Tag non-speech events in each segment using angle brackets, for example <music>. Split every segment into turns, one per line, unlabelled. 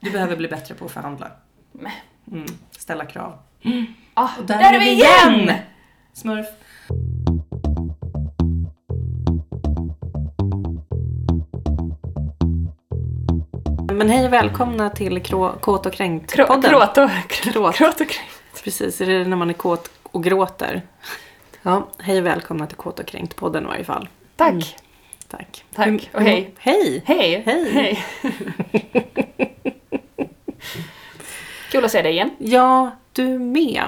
Du behöver bli bättre på att förhandla.
Men.
Mm. Ställa krav.
Ah,
Och
där, är vi igen!
Smurf. Men hej och välkomna till Krå- Kåt och
Krå-
kränkt-podden.
Kråt och kråt. kråt och kråt.
Precis, är det när man är kåt och gråter? Ja, hej och välkomna till Kåt och kränkt-podden i varje fall.
Tack.
Tack.
Tack
Hur- hur-
och hej.
Hej!
Mm. Hej.
Hej.
<laughs> Kul att se dig igen.
Ja, du med.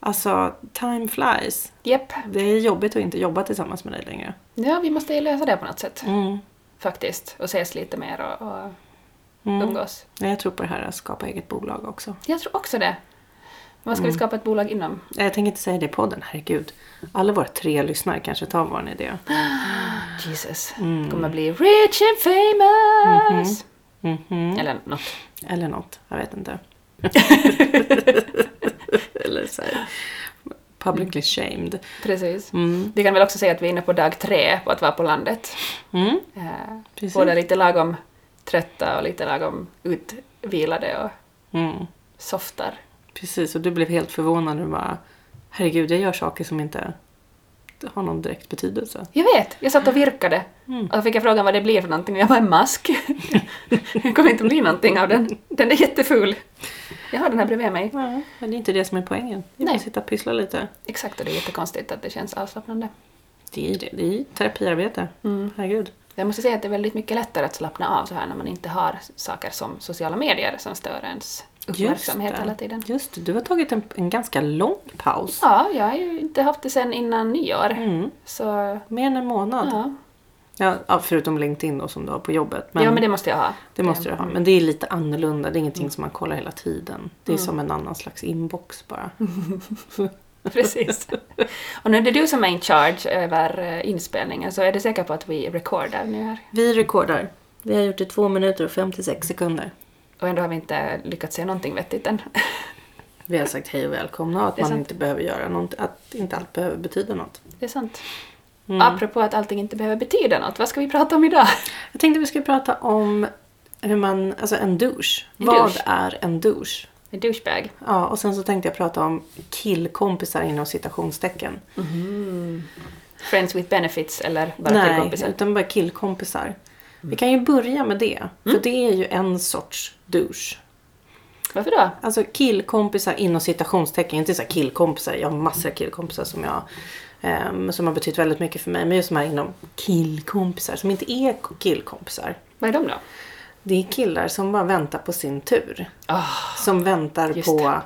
Alltså, time flies.
Japp.
Det är jobbigt att inte jobba tillsammans med dig längre.
Ja, vi måste ju lösa det på något sätt.
Mm.
Faktiskt. Och ses lite mer och, och
Mm.
umgås.
Jag tror på det här att skapa eget bolag också.
Jag tror också det. Vad ska vi skapa ett bolag inom?
Nej, Jag tänker inte säga det i podden, herregud. Alla våra tre lyssnare kanske tar vår idé.
Ah, Jesus. Det kommer bli rich and famous!
Mhm.
Eller något.
Eller något, jag vet inte. <laughs> Eller så här, publicly shamed.
Precis.
Mm.
Vi kan väl också säga att vi är inne på dag tre på att vara på landet.
Mm.
Eh,
Precis.
både lite lagom trötta och lite lagom utvilade och
Mm.
softar.
Precis, och du blev helt förvånad och bara herregud, jag gör saker som inte har någon direkt betydelse.
Jag vet, jag satt och virkade.
Mm.
Och så fick jag frågan vad det blir för någonting och jag var en mask. <laughs> det kommer inte bli någonting av den. Den är jätteful. Jag har den här bredvid mig.
Ja, men det är inte det som är poängen. Det är
Nej.
bara att sitta och pyssla lite.
Exakt, och det är jättekonstigt att det känns avslappnande.
Det är det, det är terapiarbete. Herregud.
Jag måste säga att det är väldigt mycket lättare att slappna av så här när man inte har saker som sociala medier som stör ens uppmärksamhet
det.
hela tiden.
Just det, du har tagit en, en ganska lång paus.
Ja, jag har ju inte haft det sen innan nyår.
Mm.
Så,
Mer än en månad.
ja.
Ja, ja, förutom LinkedIn då som du har på jobbet. Men
ja, men
det,
det Mm. måste jag ha.
måste du ha. Men det är lite annorlunda. Det är ingenting som man kollar hela tiden. Det är
Mm.
som en annan slags inbox bara.
<laughs> Precis. Och nu är det du som är in charge över eh, inspelningen, så är du säker på att vi recordar nu här?
Vi rekordar. Vi har gjort det två minuter och 56 sekunder.
Och ändå har vi inte lyckats säga någonting vettigt än. <laughs>
Vi har sagt hej och välkomna och att
Det är
man
sant.
inte behöver göra något, att inte allt behöver betyda något.
Det är sant.
Mm.
Apropå att allting inte behöver betyda något, vad ska vi prata om idag?
Jag tänkte vi skulle prata om hur man, alltså en douche.
En
Vad
douche.
är en douche?
En douchebag.
Ja, och sen så tänkte jag prata om killkompisar inom citationstecken.
Friends with benefits eller bara
Nej,
killkompisar. Mm.
utan bara killkompisar. Vi kan ju börja med det, för det är ju en sorts douche.
Varför då?
Alltså killkompisar inom citationstecken, inte så här killkompisar, jag har massor av killkompisar som jag ehm, som har betytt väldigt mycket för mig, men just de här inom killkompisar som inte är killkompisar.
Vad är de då?
Det är killar som bara väntar på sin tur. som väntar
just
på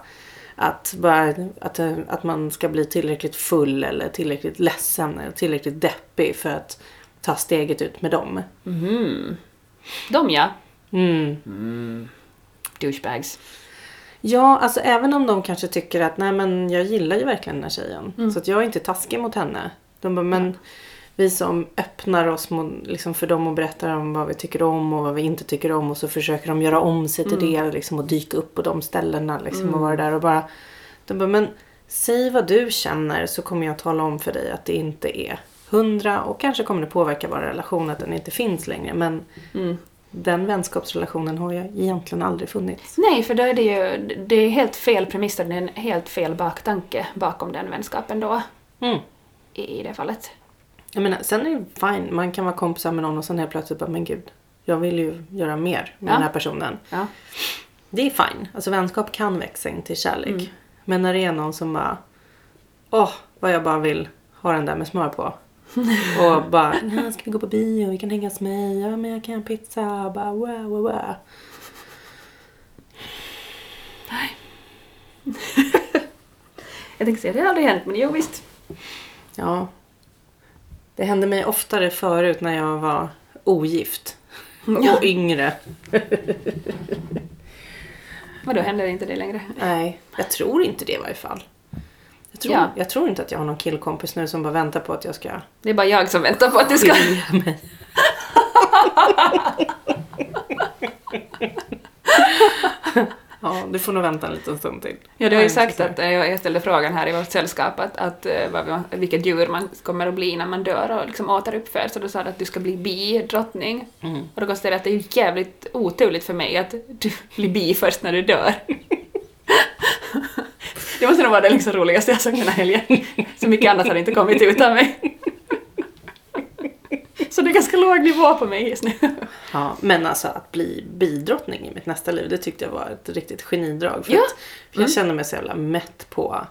att, bara, att, eh, att man ska bli tillräckligt full eller tillräckligt ledsen eller tillräckligt deppig för att ta steget ut med dem.
De ja.
Mm.
Douchebags.
Ja, alltså även om de kanske tycker att nej men jag gillar ju verkligen den här tjejen. Så att jag är inte taskig mot henne. De bara, men vi som öppnar oss mot, liksom, för dem och berättar om vad vi tycker om och vad vi inte tycker om och så försöker de göra om sig till det liksom, och dyka upp på de ställena liksom, och vara där och bara. De bara, men säg vad du känner så kommer jag tala om för dig att det inte är hundra och kanske kommer det påverka vår relation att den inte finns längre. Men den vänskapsrelationen har ju egentligen aldrig funnits.
Nej, för då är det ju det är helt fel premiss och det är en helt fel baktanke bakom den vänskapen då.
Mm.
I, i det fallet.
Jag menar, sen är det fine. Man kan vara kompisar med någon och sen helt plötsligt bara, men gud. Jag vill ju göra mer med
Ja.
den här personen.
Ja.
Det är fine. Alltså vänskap kan växa in till kärlek. Men när det är någon som bara, åh, vad jag bara vill ha den där med smör på. och bara, "Nej, ska vi gå på bio, vi kan hänga hos mig, ja men jag kan göra pizza, bara wow, wow, wow.
Jag tänkte säga, det har aldrig hänt, men jo visst.
Ja. Det hände mig oftare förut när jag var ogift. Och yngre.
Men då händer det inte det längre.
Nej, jag tror inte det i varje fall. Jag tror,
Ja.
jag tror inte att jag har någon killkompis nu som bara väntar på att jag ska
Det är bara jag som väntar på att du ska...
skilja mig. ja. Ja, du får nog vänta en liten stund till.
Ja, du har
Ja,
ju
jag
sagt
förstår.
att eh, jag ställde frågan här i vårt sällskap att, att eh, vad man- vilket djur man kommer att bli när man dör och liksom återuppföds och då sa du att du ska bli bidrottning.
Mm.
Och då konstaterade jag att det är ju jävligt oturligt för mig att du <laughs> blir bi först när du dör. <laughs> Det måste nog vara det liksom roligaste jag såg den här helgen. <laughs> Så mycket annat har inte kommit ut av mig. <laughs> Så det är ganska låg nivå på mig just nu.
Ja, men alltså att bli bidrottning i mitt nästa liv, det tyckte jag var ett riktigt genidrag. För
Ja.
att för jag
Mm.
känner mig så jävla mätt på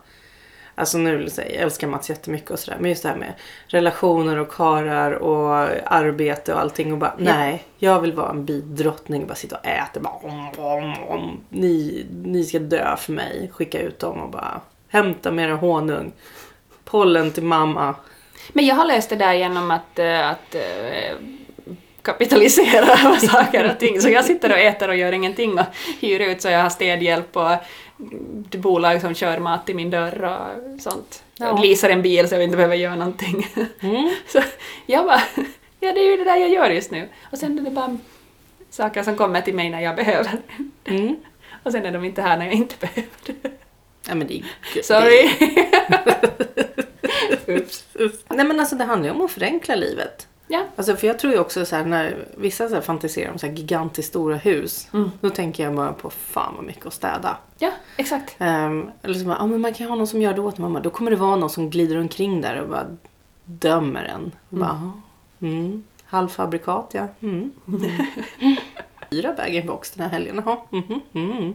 Alltså nu så här, jag älskar Mats jättemycket och sådär men just det här med relationer och karar och arbete och allting och bara nej jag vill vara en bidrottning och bara sitta och äta bara om, om, om. Ni, ni ska dö för mig. Skicka ut dem och bara hämta med er honung. Pollen till mamma.
Men jag har löst det där genom att, eh, att eh, kapitalisera <laughs> saker och ting. Så jag sitter och äter och gör ingenting och hyr ut så jag har städhjälp och ett bolag som kör mat till min dörr och sånt.
Ja.
Jag leasar en bil så jag inte behöver göra någonting. <laughs>
Mm.
Så jag bara, ja det är ju det där jag gör just nu. Och sen är det bara saker som kommer till mig när jag behöver.
Mm.
Och sen är de inte här när jag inte behöver.
Ja, men det är gött.
Sorry! Oops.
Nej men alltså det handlar ju om att förenkla livet.
Ja.
Alltså för jag tror ju också så här när vissa så här fantiserar om så här gigantiskt stora hus. Då tänker jag bara på fan vad mycket att städa.
ja, exakt.
Ehm, eller så bara, ah, men man kan ju ha någon som gör det åt en. Man bara, Då kommer det vara någon som glider omkring där och bara dömer en. Och bara, "Jaha, mm. Halvfabrikat ja. Mm. Mm. Fyra bag-in-box den här helgen. Jaha. Mhm. Mm.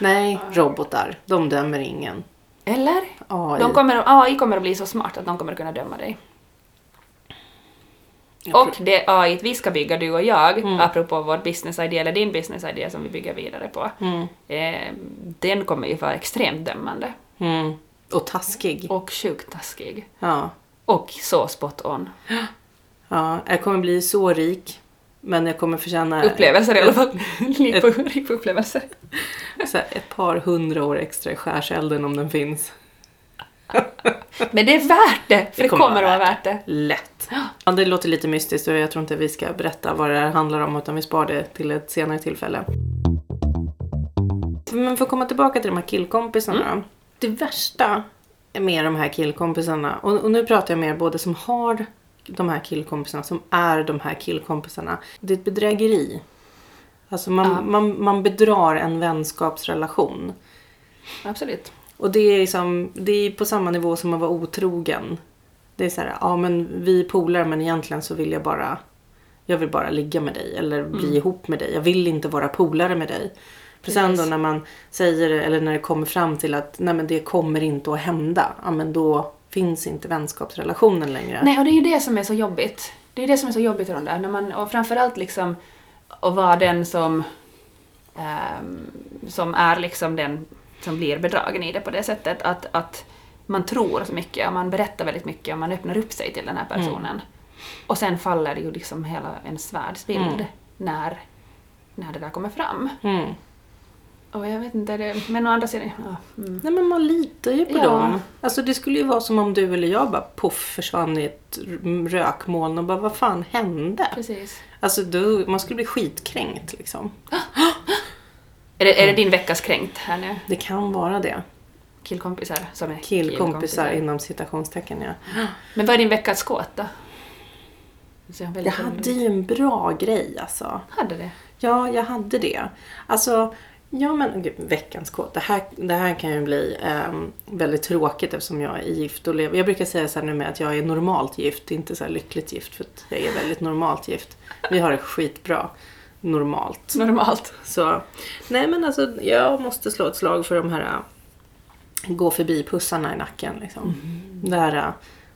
Nej, robotar. De dömer ingen.
Eller?
AI.
De kommer, att- AI kommer att bli så smart att de kommer att kunna döma dig.
Jag
Och det AI t vi ska bygga, du och jag, apropå vår business idé eller din business idé som vi bygger vidare på, eh, den kommer ju vara extremt dömande.
Mm. Och taskig.
Och sjukt taskig.
Ja.
Och så spot on.
ja. Jag kommer bli så rik. Men jag kommer förtjäna
Upplevelser i alla <laughs> fall. Lik på, lik på <laughs> upplevelser.
så här, ett par hundra år extra i skärselden om den finns.
Men det är värt det! För det
kommer
kommer att
vara
vara värt det.
Lätt. Ja, det låter lite mystiskt och jag tror inte vi ska berätta vad det här handlar om utan vi spar det till ett senare tillfälle. Men för att komma tillbaka till de här killkompisarna. då. Det värsta med de här killkompisarna, och, och nu pratar jag mer både som har de här killkompisarna, som är de här killkompisarna. Det är ett bedrägeri. Alltså man,
Ja.
man, man bedrar en vänskapsrelation.
Absolut.
Och det är, liksom, det är på samma nivå som att vara otrogen. Det är så här, ja men vi är polare men egentligen så vill jag bara jag vill bara ligga med dig eller bli
Mm.
ihop med dig. Jag vill inte vara polare med dig. För sen då
Precis.
när man säger det, eller när det kommer fram till att nej men det kommer inte att hända. Ja men då finns inte vänskapsrelationen längre.
Nej, och det är ju det som är så jobbigt. Det är det som är så jobbigt i de där. När man, och framförallt liksom att vara den som, ehm, som är liksom den som blir bedragen i det på det sättet att, att man tror så mycket och man berättar väldigt mycket och man öppnar upp sig till den här personen. Och sen faller ju liksom hela ens världsbild när, när det där kommer fram.
Mm.
Och jag vet inte, det, men å andra sidan... Ja, mm.
Nej men man litar ju på
Ja.
dem. Alltså det skulle ju vara som om du eller jag bara poff försvann i ett rökmoln och bara vad fan hände?
Precis.
Alltså du, man skulle bli skitkränkt liksom.
Är det, är det din veckas kränkt här nu?
Det kan vara det.
Killkompisar som är
Killkompisar inom citationstecken ja.
Men vad är din veckas kåt då? Så jag,
Jag
väldigt
hade ju en bra grej alltså.
hade det.
Ja, jag hade det. Alltså, ja men gud, veckans kåt. Det här, det här kan ju bli ehm, väldigt tråkigt eftersom jag är gift och lever. Jag brukar säga så här nu med att jag är normalt gift, inte så här lyckligt gift för att jag är väldigt normalt gift. Vi har det skitbra. <laughs> Normalt.
Normalt.
Så, nej men alltså jag måste slå ett slag för de här äh, gå förbi pussarna i nacken liksom. Det här äh,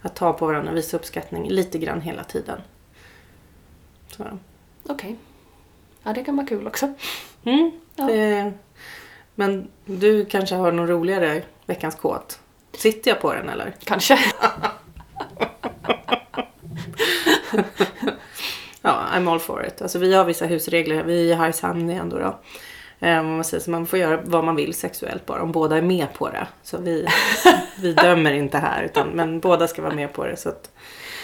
att ta på varandra, visa uppskattning lite grann hela tiden. Så.
Okej. Ja, det kan vara kul också.
Mm,
Ja.
det, men du kanske har någon roligare veckans kåt? Sitter jag på den eller?
Kanske. <laughs>
Ja, I'm all for it. Alltså vi har vissa husregler, vi är i Hargshamn ändå då. Eh, man, säger, så man får göra vad man vill sexuellt bara, om båda är med på det. Så
<laughs>
vi, vi dömer inte här, utan, men båda ska vara med på det. Så att,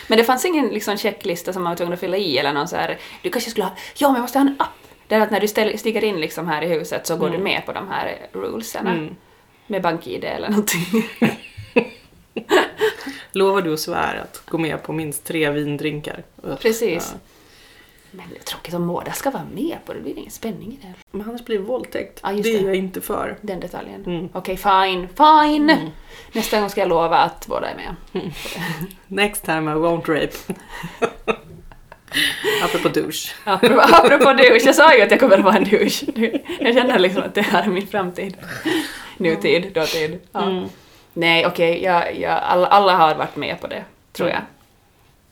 Men det fanns ingen liksom, checklista som man var tvungen att fylla i eller någon så här. Du kanske skulle ha... Ja, men jag måste ha en app. Det är att när du ställ, stiger in liksom här i huset så går
Mm.
du med på de här rulesarna.
Mm.
Med bank-id eller någonting. <laughs>
Lovar du och svär att gå med på minst tre vindrinkar? Ugh,
Precis.
ja.
Men det är tråkigt om båda ska vara med på det, det blir ingen spänning i det.
Men annars blir det våldtäkt.
Ja,
det.
just
är
det.
jag inte för.
Den detaljen.
Mm.
Okej, fine, fine! Nästa gång ska jag lova att båda är med.
Next time I won't
<laughs>
rape. Apropå douche.
Apropå, apropå douche, jag sa ju att jag kommer att vara en douche. Nu- Jag känner liksom att det här är min framtid. Nutid, dåtid. Ja.
Mm.
Nej, okej, jag, jag, alla, alla har varit med på det, tror jag.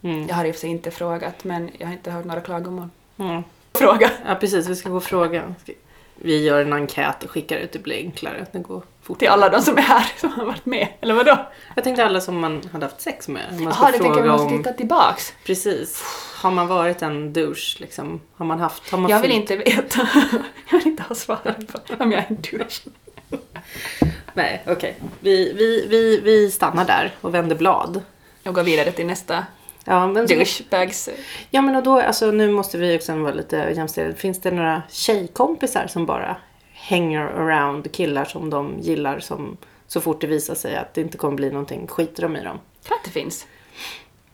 Mm.
Jag har i och för sig inte frågat, men jag har inte hört några klagomål.
Mm.
Fråga!
Ja precis, vi ska gå och fråga. Ska- Vi gör en enkät och skickar ut, det blir enklare. Det går fort.
Till alla de som är här som har varit med, eller vadå?
Jag tänkte alla som man hade haft sex med. Man ska
Jaha, du tänker att
fråga
man ska
om...
titta tillbaks?
Precis. Har man varit en douche liksom? Har man haft... Har man
Jag vill
fyllt-
inte veta. <laughs> Jag vill inte ha svaret på om jag är en douche.
Nej, okej. Vi, vi, vi, vi stannar där och vänder blad.
Jag går vidare till nästa
Ja, men,
douchebags.
ja, men och då, alltså, nu måste vi också vara lite jämställda. Finns det några tjejkompisar som bara hänger around killar som de gillar som så fort det visar sig att det inte kommer bli någonting skiter de i dem?
Klart det finns.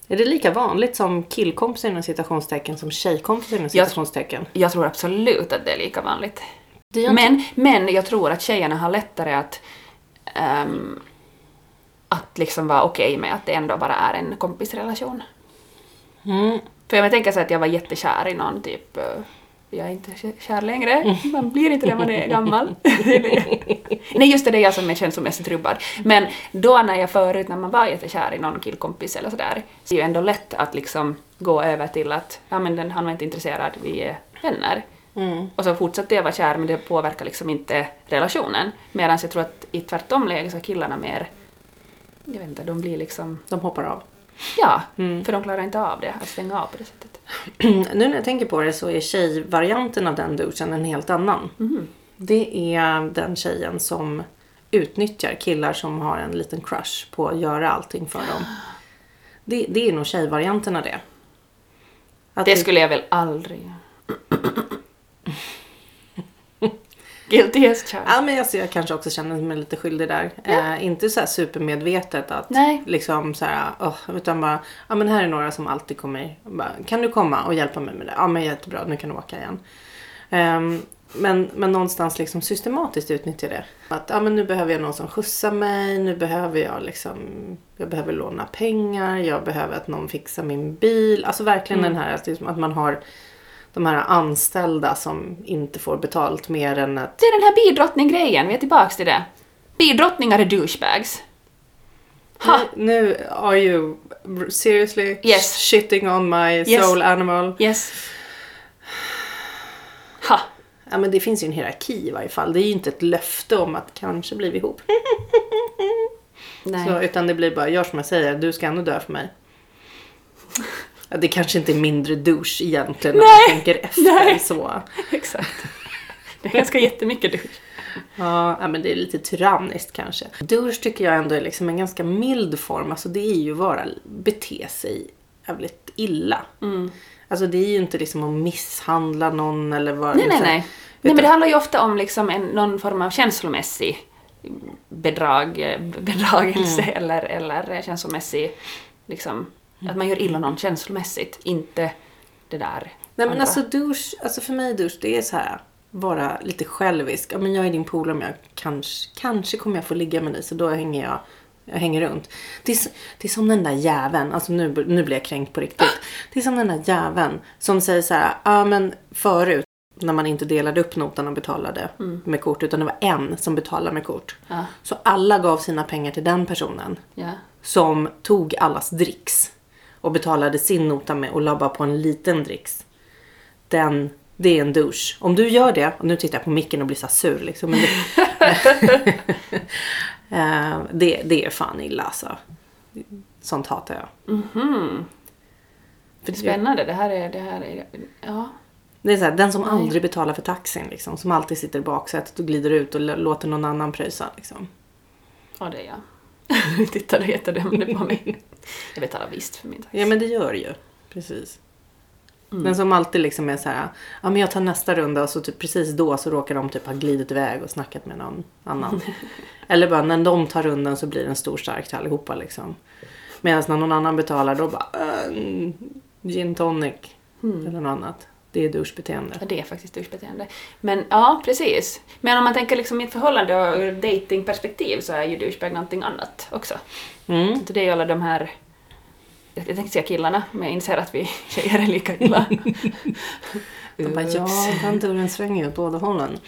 Är det lika vanligt som killkompisar inom citationstecken som tjejkompisar inom
Jag-
citationstecken?
Jag tror absolut att det är lika vanligt.
Det gör inte-
Men, men jag tror att tjejerna har lättare att ehm, att liksom vara okej med att det ändå bara är en kompisrelation.
Mm.
För om jag tänker så att jag var jättekär i någon typ, eh, jag är inte kä- kär längre, man blir inte det man är gammal. <laughs> Nej just det, det är jag som är känns som mest trubbad. Men då när jag förut, när man var jättekär i någon killkompis eller sådär, så är det ju ändå lätt att liksom gå över till att, ja men den, han var inte intresserad, vi är vänner.
Mm.
Och så fortsatte jag vara kär men det påverkar liksom inte relationen. Medan jag tror att i tvärtom läge så är killarna mer, jag vet inte, de blir liksom,
De hoppar av. <clears throat>
ja, för de klarar inte av det, Mm. att stänga av på det sättet.
nu när jag tänker på det så är tjejvarianten av den douchen en helt annan. Det är den tjejen som utnyttjar killar som har en liten crush på att göra allting för dem. Det, det är nog tjejvarianten av det. Att
Det
vi-
skulle jag väl aldrig... Guilty as charged.
Ja, men alltså, jag kanske också känner mig lite skyldig där. Eh, inte så här supermedvetet att
Nej.
liksom så här, åh, utan bara, ja men här är några som alltid kommer. Bara, kan du komma och hjälpa mig med det? Ja men jättebra, nu kan du åka igen. Ehm, men, men någonstans liksom systematiskt utnyttja det. Att ja, men nu behöver jag någon som skjutsar mig, nu behöver jag liksom, jag behöver låna pengar, jag behöver att någon fixar min bil. Alltså verkligen den här att, liksom, att man har de här anställda som inte får betalt mer än att
Det är den här bidrottning-grejen, vi är tillbaks till det. Bidrottningar är douchebags. Ha!
Nu, nu are you seriously
Yes.
shitting on my
Yes.
soul animal.
Yes. Ha!
Ja men det finns ju en hierarki i varje fall. Det är ju inte ett löfte om att kanske blir vi ihop.
Nej. <laughs>
Så, utan det blir bara, gör som jag säger, du ska ändå dö för mig. Ja, det kanske inte är mindre douche egentligen när man
Nej. <laughs>
tänker efter
Nej.
så.
Exakt. Det är ganska jättemycket douche.
Ja, ja, men det är lite tyranniskt kanske. Douche tycker jag ändå är liksom en ganska mild form. Alltså det är ju bara bete sig jävligt illa.
Mm.
Alltså det är ju inte liksom att misshandla någon eller vara...
Nej, nej,
liksom-
nej. Nej,
Utan-
men det handlar ju ofta om liksom en, någon form av känslomässig bedrag, bedragelse
Mm.
eller, eller känslomässig, liksom, att man gör illa någon känslomässigt, inte det där
Nej men
andra.
alltså douche, alltså för mig douche det är så här vara lite självisk. Ja men jag är din polare men jag kanske, kanske kommer jag få ligga med dig så då hänger jag, jag hänger runt. Det är, s- det är som den där jäveln, alltså nu, nu blir jag kränkt på riktigt. Det är som den där jäveln som säger så här, ja men förut när man inte delade upp notan och betalade med kort utan det var en som betalade med kort.
Mm. Ja.
Så alla gav sina pengar till den personen
Ja.
som tog allas dricks och betalade sin nota med och la bara på en liten dricks. Den, det är en douche. Om du gör det, och nu tittar jag på micken och blir så här sur liksom. Men det, Eh, det, det är fan illa alltså. Sånt hatar jag. För det,
Spännande, det här är... Det här är ja.
det är så här, den som aldrig betalar för taxin liksom, som alltid sitter i baksätet och glider ut och l- låter någon annan pröjsa liksom.
ja, det är jag. <laughs> Du tittade jättedömande på mig. Jag betalar visst för min taxi.
Ja men det gör det ju. Precis. Den som alltid liksom är så här, ja men jag tar nästa runda och så typ precis då så råkar de typ ha glidit iväg och snackat med någon annan. Eller bara när de tar rundan så blir det en stor stark till allihopa liksom. Medan när någon annan betalar då bara, äh, gin tonic eller något annat. Det är duschbeteende.
Ja, det är faktiskt duschbeteende. Men ja, precis. Men om man tänker liksom i ett förhållande och ur datingperspektiv så är ju douchebag någonting annat också.
Mm.
Så det är ju alla de här jag tänkte säga killarna, men jag inser att vi tjejer är lika illa.
<laughs> De bara, ja, den dörren svänger ju åt båda hållen.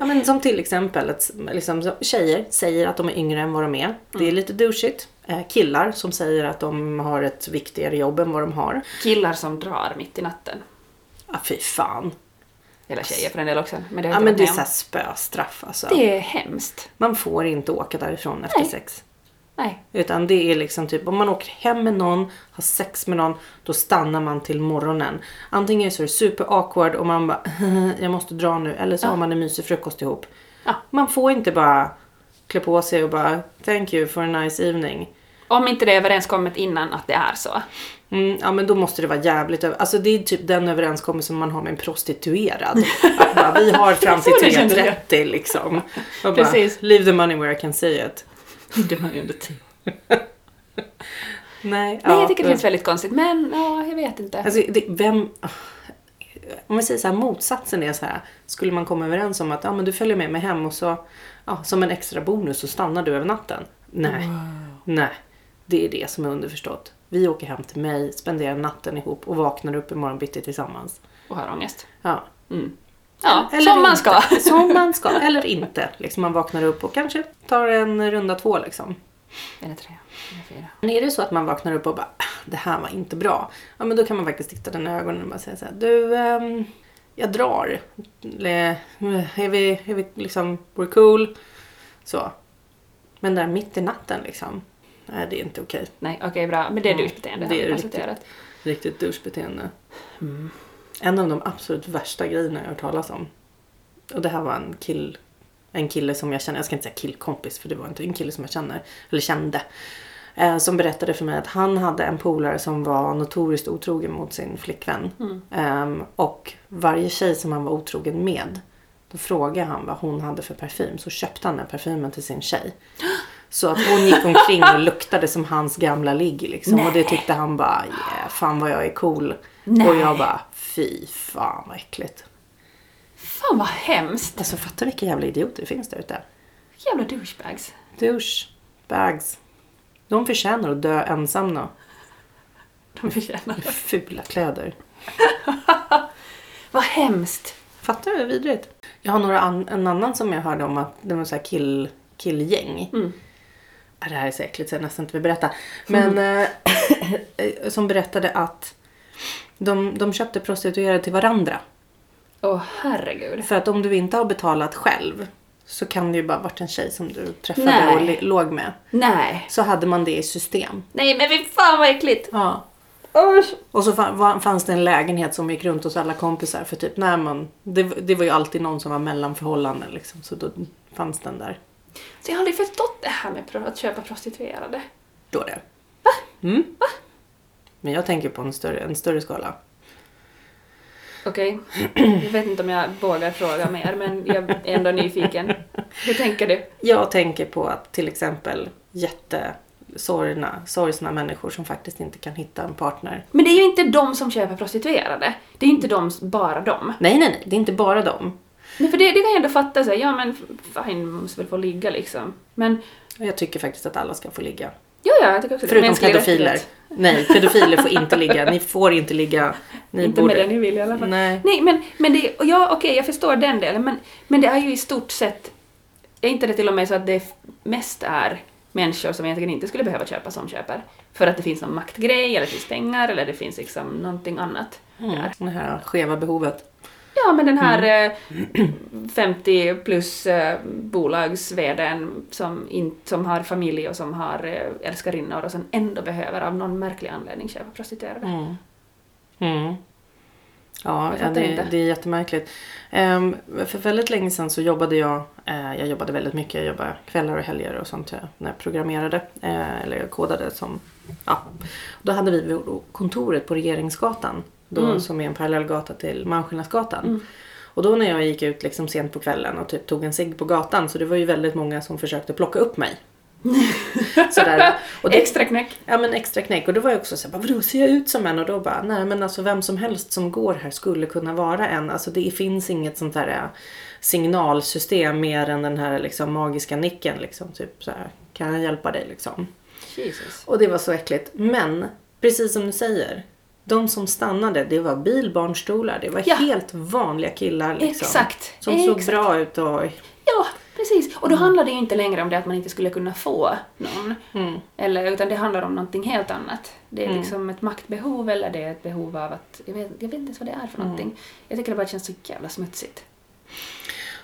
Ja, men som till exempel att liksom, så- tjejer säger att de är yngre än vad de är. Det är lite douchigt. Eh, Killar som säger att de har ett viktigare jobb än vad de har.
Killar som drar mitt i natten.
Ja, fy fan.
Eller tjejer för en del också. Men det har
Ja,
jag
men
inte
det är
varit
såhär
med
spöstraff alltså.
om. det är hemskt.
Man får inte åka därifrån efter
Nej.
sex.
Nej.
Utan det är liksom typ om man åker hem med någon, har sex med någon, då stannar man till morgonen. Antingen så är det super awkward och man bara <laughs> jag måste dra nu eller så har man en mysig frukost ihop.
Ja.
Man får inte bara klä på sig och bara thank you for a nice evening.
Om inte det är överenskommet innan att det är så.
Mm, ja men då måste det vara jävligt över... Alltså det är typ den överenskommelsen man har med en
<laughs>
prostituerad. Att bara, vi har fram till
Så det kändes
3.30 liksom. Och bara,
Precis.
leave the money where I can see it.
Det var ju
<laughs>
under tid.
Nej,
Nej,
ja,
jag tycker det
men-
känns väldigt konstigt. Men ja, jag vet inte.
Alltså, det, vem... Om vi säger så här, motsatsen är så här. Skulle man komma överens om att ja, men du följer med mig hem och så ja, som en extra bonus så stannar du över natten. Nej, nej. Det är det som är underförstått. Vi åker hem till mig, spenderar natten ihop och vaknar upp imorgon bitti tillsammans.
Och har ångest. Mm.
Ja.
Ja,
Alltså- Eller
som man
inte.
ska. <laughs>
Som man ska, eller inte. Liksom man vaknar upp och kanske tar en runda två liksom.
Eller tre, eller fyra.
Men är det så att man vaknar upp och bara "Ah, det här var inte bra. Ja men då kan man faktiskt titta den i ögonen och bara säga så här, du ehm, jag drar. Eller, eh, Är vi, är vi liksom, we're cool. Så. Men där mitt i natten liksom. Nej det är inte okej.
Nej, okej bra. Men det är douchebeteende.
Det är
har vi
riktigt.
konstaterat.
Riktigt douchebeteende. En av de absolut värsta grejerna jag har hört talas om. Och det här var en kill, en kille som jag känner, jag ska inte säga killkompis för det var inte en kille som jag känner, eller kände. Eh, som berättade för mig att han hade en polare som var notoriskt otrogen mot sin flickvän. Ehm, och varje tjej som han var otrogen med, då frågade han vad hon hade för parfym. Så köpte han den parfymen till sin tjej. Så att hon gick omkring och luktade som hans gamla ligg liksom. Och det tyckte han bara, yeah, fan vad jag är cool. Och jag bara, fy fan vad äckligt.
Fan vad hemskt.
Alltså fattar vilka jävla idioter det finns där ute.
Jävla douchebags.
Douche, bags. De förtjänar att dö ensamma.
De förtjänar det.
Fula kläder.
Vad hemskt.
Fattar du hur vidrigt? Jag har några an- en annan som jag hörde om att det var så här kill, killgäng. Ja, Det här är så äckligt så jag nästan inte vill berätta. Men eh, <clears throat> som berättade att de, de köpte prostituerade till varandra.
Åh herregud.
För att om du inte har betalat själv så kan det ju bara varit en tjej som du träffade
Nej.
och li- låg med.
Nej.
Så hade man det i system.
Nej men fy fan vad äckligt.
Ja. Och så fa- va- fanns det en lägenhet som gick runt hos alla kompisar för typ när man... Det, det var ju alltid någon som var mellanförhållanden liksom så då fanns den där.
Så jag har aldrig förstått det här med pro- att köpa prostituerade.
Då det. Va? Mm. Men jag tänker på en större, en större skala.
Okej. Jag vet inte om jag vågar fråga mer men jag är ändå nyfiken. Hur tänker du?
Jag tänker på att till exempel jättesorgna, sorgsna människor som faktiskt inte kan hitta en partner.
Men det är ju inte de som köper prostituerade. Det är ju inte de, bara de.
Nej, nej, nej, det är inte bara dem.
Men för det, det kan jag ändå fatta såhär, ja men fine, man måste väl få ligga liksom. Men
Och Jag tycker faktiskt att alla ska få ligga.
ja, ja, jag tycker också det.
Förutom
Mänsklig
pedofiler.
rättighet.
Nej, pedofiler får inte ligga. Ni får inte ligga. Ni
Inte
borde...
med den ni vill i alla fall.
Nej.
Nej, men, men det, och ja, okej, jag förstår den delen, men, men det är ju i stort sett, är inte det till och med så att det f- mest är människor som egentligen inte skulle behöva köpa som köper? För att det finns någon maktgrej, eller det finns pengar, eller det finns liksom någonting annat.
Mm. Det här skeva behovet.
Ja, men den här
Mm.
eh, <clears throat> 50 plus eh, bolagsvdn som, in, som har familj och som har eh, älskarinnor och som ändå behöver av någon märklig anledning köpa prostituerade.
Mm. Mm. Ja,
Jag
ja,
fattar
det,
inte.
det är jättemärkligt. Ehm, för väldigt länge sedan så jobbade jag, eh, jag jobbade väldigt mycket, jag jobbade kvällar och helger och sånt eh, när jag programmerade, eh, eller jag kodade som, ja. Då hade vi vår- kontoret på Regeringsgatan då,
Mm.
som är en parallellgata till Malmskillnadsgatan.
Mm.
Och då när jag gick ut liksom sent på kvällen och typ tog en cigg på gatan så det var ju väldigt många som försökte plocka upp
<laughs>
mig. Sådär. Och det,
Extra knäck.
ja men extra knäck. Och då var jag också såhär, vadå ser jag ut som en? Och då bara, nej men alltså vem som helst som går här skulle kunna vara en. Alltså det finns inget sånt här eh, signalsystem mer än den här liksom magiska nicken liksom. Typ såhär, kan jag hjälpa dig liksom?
Jesus.
Och det var så äckligt. Men, precis som du säger. De som stannade, det var bilbarnstolar. Det var
Ja.
helt vanliga killar liksom.
Exakt.
Som såg
Exakt.
bra ut och...
Ja, precis. Och då handlar det ju inte längre om det att man inte skulle kunna få någon.
Mm.
Eller, utan det handlar om någonting helt annat. Det är
Mm.
liksom ett maktbehov eller det är ett behov av att... Jag vet, jag vet inte ens vad det är för
Mm.
någonting. Jag tycker det bara känns så jävla smutsigt.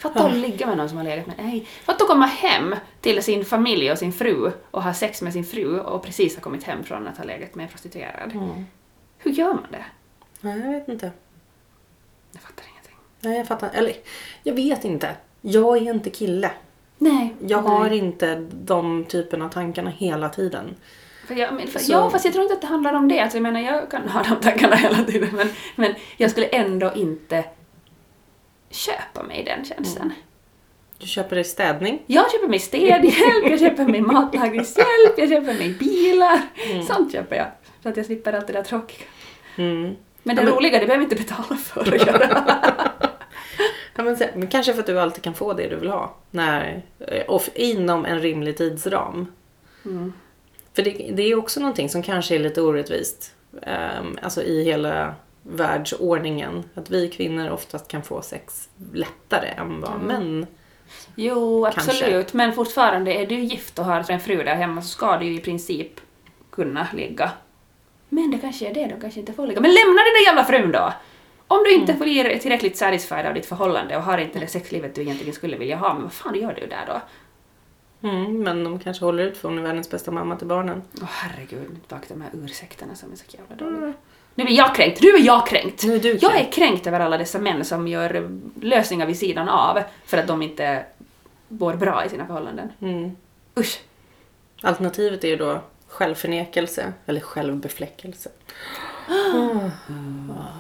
Fatta att ligga med någon som har legat med... Nej. Fatta att komma hem till sin familj och sin fru och ha sex med sin fru och precis ha kommit hem från att ha legat med en prostituerad.
Mm.
Hur gör man det?
Nej, jag vet inte.
Jag fattar ingenting.
Nej, jag fattar. Eller, jag vet inte. Jag är inte kille.
Nej.
Jag
nej.
har inte de typen av tankarna hela tiden.
För jag, men, för,
Så-
Ja, fast jag tror inte att det handlar om det. Alltså, jag menar, jag kan ha de tankarna <laughs> hela tiden, men, men jag skulle ändå inte köpa mig den tjänsten.
Mm. Du köper dig städning.
Jag köper mig städhjälp, jag köper mig matlagningshjälp, jag köper mig bilar. Sånt köper jag. Så att jag slipper allt det där tråkiga.
Mm.
Men det
Ja, men-
roliga, det behöver jag inte betala för
<laughs>
att göra.
Ja, men, se- men kanske för att du alltid kan få det du vill ha. När, eh, och f- inom en rimlig tidsram.
Mm.
För det, det är också någonting som kanske är lite orättvist. ehm, alltså i hela världsordningen. Att vi kvinnor oftast kan få sex lättare än vad
Mm.
män...
Jo,
Kanske.
absolut. Men fortfarande, är du gift och har en fru där hemma så ska du ju i princip kunna ligga. Men det kanske är det, de kanske inte får ligga. Men lämna den där jävla frun då! Om du
Mm.
inte blir tillräckligt satisfied av ditt förhållande och har inte det sexlivet du egentligen skulle vilja ha, men vad fan gör du där då?
Mm, men de kanske håller ut för hon är världens bästa mamma till barnen.
Åh herregud, bak de här ursäkterna som är så jävla dåliga. Nu blir jag kränkt, nu är jag kränkt!
Mm. Nu är du
Jag
kränkt.
är kränkt över alla dessa män som gör lösningar vid sidan av för att de inte mår bra i sina förhållanden.
Mm.
Usch!
Alternativet är ju då självförnekelse eller självbefläckelse. Ah, Jag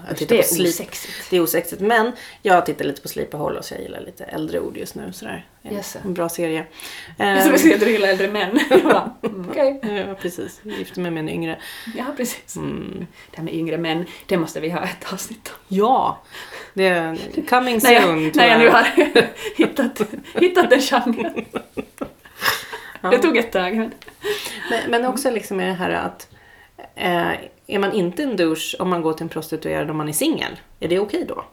Det
tittar på
är
slip.
osexigt.
Det är osexigt. Men jag tittar lite på Sleep och Hollow så jag gillar lite äldre ord just nu. Sådär. En,
Yes.
en bra
<laughs>
serie.
Det är som
Ehm,
att säga att du gillar äldre män. Jag bara, mm, Okej.
<laughs> Ja, precis. Jag gifte mig med en yngre.
Ja, precis.
Mm.
Det här med yngre män, det måste vi ha ett avsnitt om.
Ja! Det är coming
När
soon,
jag, när jag nu har <laughs> hittat, hittat den genren.
Ja.
Det tog ett tag, men...
men, men också liksom är det här att eh, är man inte en douche om man går till en prostituerad om man är singel? Är det okej då?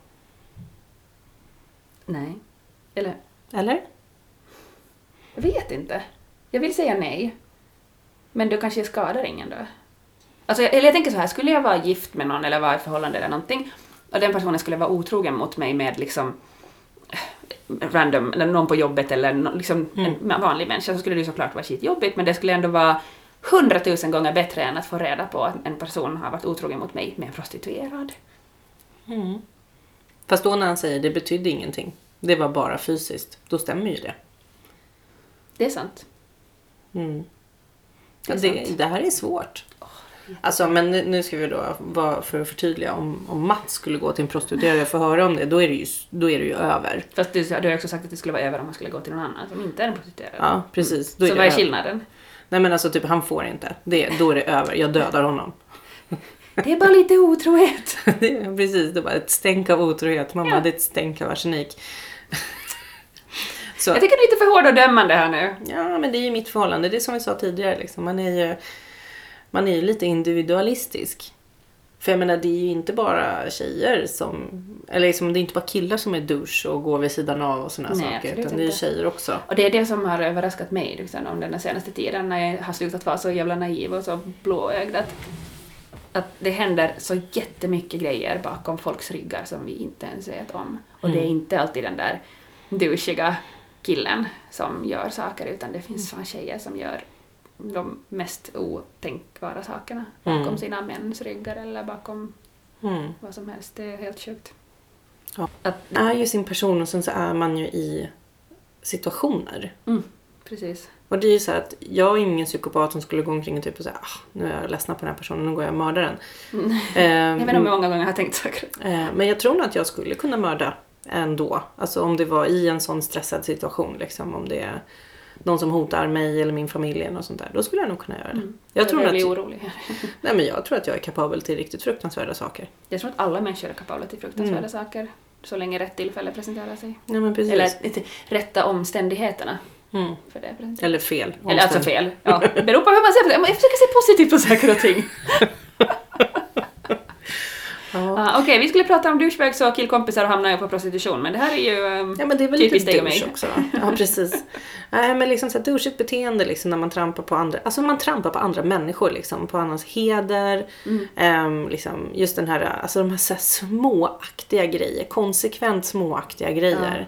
Nej. Eller,
Eller?
jag vet inte. Jag vill säga nej. Men då kanske jag skadar ingen då. Alltså, jag- eller jag tänker så här, skulle jag vara gift med någon eller vara i förhållande eller någonting och den personen skulle vara otrogen mot mig med liksom eh, random, eller någon på jobbet eller nå- liksom
Mm.
en vanlig människa så skulle det ju såklart vara skitjobbigt men det skulle ändå vara hundratusen gånger bättre än att få reda på att en person har varit otrogen mot mig med en prostituerad.
Fast då när han säger det betydde ingenting. Det var bara fysiskt. Då stämmer ju det.
Det är sant.
Mm.
Det
Det,
är
det,
sant.
här är svårt. Alltså, men nu- nu ska vi då vara för att förtydliga. Om, om Mats skulle gå till en prostituerad för att höra om det, då är det ju, då är det ju över.
Fast du, du har ju också sagt att det skulle vara över om man skulle gå till någon annan som inte är en prostituerad.
Ja, precis. Då
så vad
det
är
över.
skillnaden?
Nej men alltså typ han får inte. Det, då är det över. Jag dödar honom. <laughs>
Det är bara lite otrohet.
Det är Precis, det var ett stänk av otrohet. Mamma,
Ja.
det är ett stänk av arsenik. Så,
Jag tycker det är lite för hård och dömande här nu.
ja men det är ju mitt förhållande. Det är som vi sa tidigare liksom. Man är ju, man är ju lite individualistisk. För jag menar det är ju inte bara tjejer som, eller liksom, det är inte bara killar som är douche och går vid sidan av och sådana
Nej,
saker.
absolut
Utan det är ju
inte.
tjejer också.
Och det är det som har överraskat mig liksom, om den här senaste tiden när jag har slutat vara så jävla naiv och så blåögd att, att det händer så jättemycket grejer bakom folks ryggar som vi inte ens vet om. Och det är
Mm.
inte alltid den där douchiga killen som gör saker utan det finns fan tjejer som gör de mest otänkbara sakerna bakom
Mm.
sina mäns ryggar eller bakom
Mm.
vad som helst. Det är helt sjukt.
Ja.
Att,
Man är ju sin person och sen så är man ju i situationer.
mm, Precis.
Och det är ju så här att jag är ingen psykopat som skulle gå omkring och typ och säga ah, nu är jag ledsna på den här personen, nu går jag och
<laughs>
mördar den.
Jag
Ehm,
vet inte om jag många gånger har tänkt saker.
eh, men jag tror nog att jag skulle kunna mörda ändå. Alltså om det var i en sån stressad situation liksom. Om det är någon som hotar mig eller min familj eller något sånt där. Då skulle jag nog kunna göra det. Mm.
Mm.
Jag, tror nog
börjar bli
att,
orolig. här.
nej, men jag tror att jag är kapabel till riktigt fruktansvärda saker.
Jag tror att alla människor är kapabla till fruktansvärda
Mm.
saker. Så länge rätt tillfälle presenterar sig.
Nej, men precis.
Eller inte rätta omständigheterna
mm.
för det presenterar
Eller fel.
Eller alltså
Omständ-
fel. Ja, beror på hur man ser på det. Jag försöker se positivt på saker och ting.
Ja.
Ah, Okej, vi skulle prata om douchebags och killkompisar och hamnar ju på prostitution, men det här är ju... ehm,
Ja men det är väl
Typiskt dig
lite
och
douche
mig.
också. va? Ja precis. Nej men liksom såhär douchigt beteende liksom när man trampar på andra, alltså man trampar på andra människor liksom, på annans heder.
Mm.
Ehm, liksom, just den här, alltså de här, så här småaktiga grejer, konsekvent småaktiga grejer.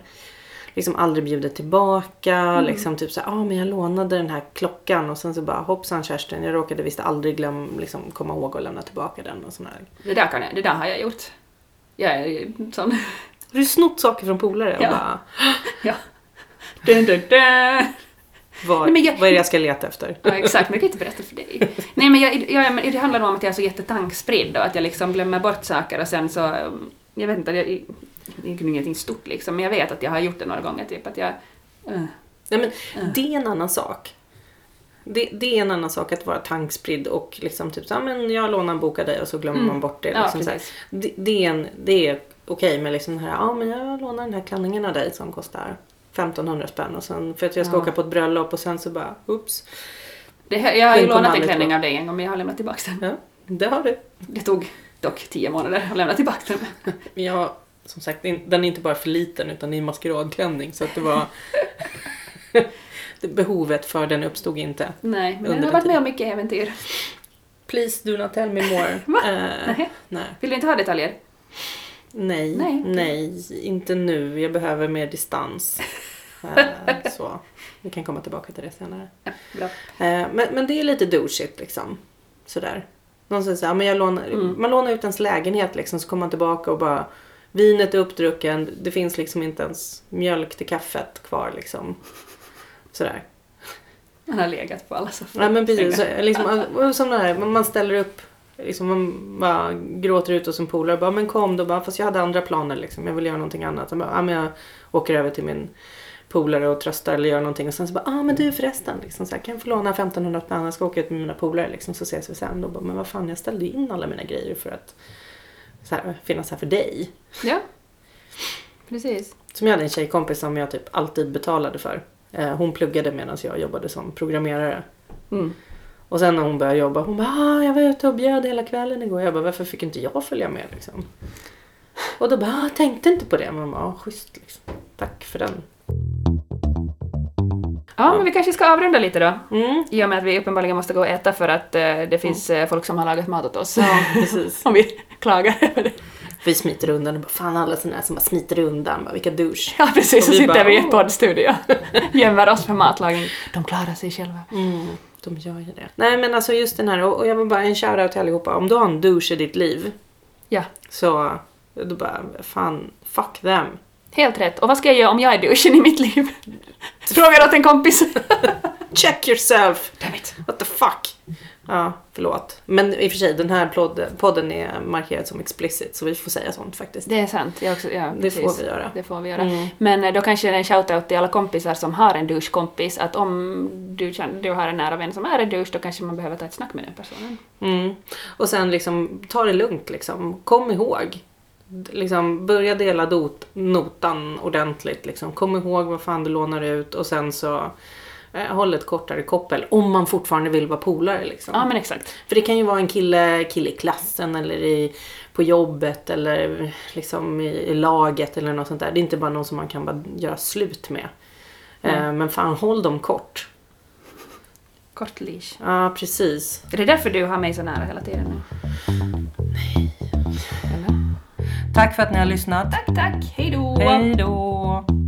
Liksom aldrig bjuder tillbaka,
Mm.
liksom typ såhär, ja ah, men jag lånade den här klockan och sen så bara hoppsan Kerstin, jag råkade visst aldrig glöm, liksom, komma ihåg att lämna tillbaka den och sådär.
Det, där kan jag, det där har jag gjort. Jag är ju sån. <laughs>
Har du snott saker från polare och
Ja.
bara,
Ja. Dun, dun, dun.
vad,
Nej, men jag-
vad är det jag ska leta efter?
Ja, exakt, men jag kan inte berätta för dig. Nej, men jag, jag, men det handlar nog om att jag är så jättetankspridd och att jag liksom glömmer bort saker och sen så... ehm, Jag vet inte, jag, det är ju ingenting stort liksom, men jag vet att jag har gjort det några gånger, typ att jag... eh,
Nej, men Det är en annan sak. Det, det är en annan sak att vara tankspridd och liksom typ så, "Ah, men jag lånar en bok av dig och så glömmer man bort det.
Mm. Ja,
Liksom, så här.
precis.
det, det är, en, det är okej med liksom den här, ja men jag lånar den här klänningen av dig som kostar 1500 spänn och sen för att jag ska
Ja.
åka på ett bröllop och sen så bara, oops.
Det, här- jag har ju
Den kommer
lånat en
aldrig
klänning
tillbaka.
av dig en gång, men jag har lämnat tillbaka den.
Ja, det har du.
Det tog dock tio månader att lämna tillbaka den.
Men jag, som sagt, in- den är inte bara för liten utan det är en maskeradklänning så att det
<laughs>
var <laughs> det- Behovet för den uppstod inte.
Nej, men den
Under
har
en
varit
tid.
med om mycket äventyr.
Please do not tell me more.
Va?
Eh,
Nej.
nej.
Vill du inte ha detaljer?
Nej,
Nej.
nej, inte nu. Jag behöver mer distans. Eh, så. Vi kan komma tillbaka till det senare.
Ja, bra.
Eh, men, men det är lite douchigt liksom. Sådär. Någon säger såhär, men jag lånar, man lånar ut ens lägenhet liksom så kommer man tillbaka och bara vinet är uppdrucken, det finns liksom inte ens mjölk till kaffet kvar liksom. Sådär.
Han har legat på alla soffor.
Ja men precis. Så, Liksom, och som det här, man man ställer upp. Liksom, man bara gråter ut hos en polare och bara men kom då. Bara, fast jag hade andra planer liksom. Jag vill göra någonting annat. Och Bara, ja, men jag åker över till min polare och tröstar eller gör någonting. Och sen så bara, ah men du förresten. Liksom, så här, kan jag få låna 1500 spänn? Jag ska åka ut med mina polare liksom, så ses vi sen. Då bara, men vad fan jag ställde in alla mina grejer för att så här, finnas här för dig.
Ja, precis.
Som jag hade en tjejkompis som jag typ alltid betalade för. Eh, Hon pluggade medan jag jobbade som programmerare.
Mm.
Och sen när hon började jobba, hon bara ah, jag var ute och bjöd hela kvällen igår. Jag bara varför fick inte jag följa med liksom? Och då bara, ah, tänkte inte på det. Man bara, ah, schysst liksom. Tack för den.
Ja, men vi kanske ska avrunda lite då.
Mm.
I och med att vi uppenbarligen måste gå och äta för att eh, det finns eh, folk som har lagat mat åt oss. <laughs>
Ja, precis.
Om vi klagar <laughs> över det.
<laughs> Vi smiter undan och bara, fan alla såna här som bara smiter undan, bara, vilka douche.
Ja, precis. Så
Och vi
sitter
bara,
vi i en
"Åh."
poddstudio gömmer oss för matlagning. De klarar sig själva.
Mm, de gör ju det. Nej men alltså just den här, och och jag vill bara en shoutout till allihopa. Om du har en douche i ditt liv
Ja,
så, då bara, fan, fuck them.
helt rätt. Och vad ska jag göra om jag är duschen i
<laughs>
mitt liv? Frågar åt en kompis.
Check yourself!
Damn it.
What the fuck? Ja, förlåt. Men i och för sig, den här plod- podden är markerad som explicit så vi får säga sånt faktiskt.
Det är sant. Jag också, ja,
Det
precis.
får vi göra.
Det får vi göra.
Mm.
Men eh, då kanske det är en shoutout till alla kompisar som har en douchekompis att om du, känner, du har en nära vän som är en douche då kanske man behöver ta ett snack med den personen.
Mm. Och sen liksom, ta det lugnt liksom. Kom ihåg. D- Liksom, börja dela dot- notan ordentligt liksom. Kom ihåg vad fan du lånar ut och sen så eh, håll ett kortare koppel om man fortfarande vill vara polare liksom.
Ja men exakt.
För det kan ju vara en kille, kille i klassen eller i, på jobbet eller liksom i, i laget eller något sånt där. Det är inte bara någon som man kan bara göra slut med. Eh, men fan, håll dem kort.
Kort leash.
Ja, precis.
Är det därför du har mig så nära hela tiden nu? Nej. Eller?
Tack för att ni har lyssnat.
Tack, tack. Hej då.
Hej då!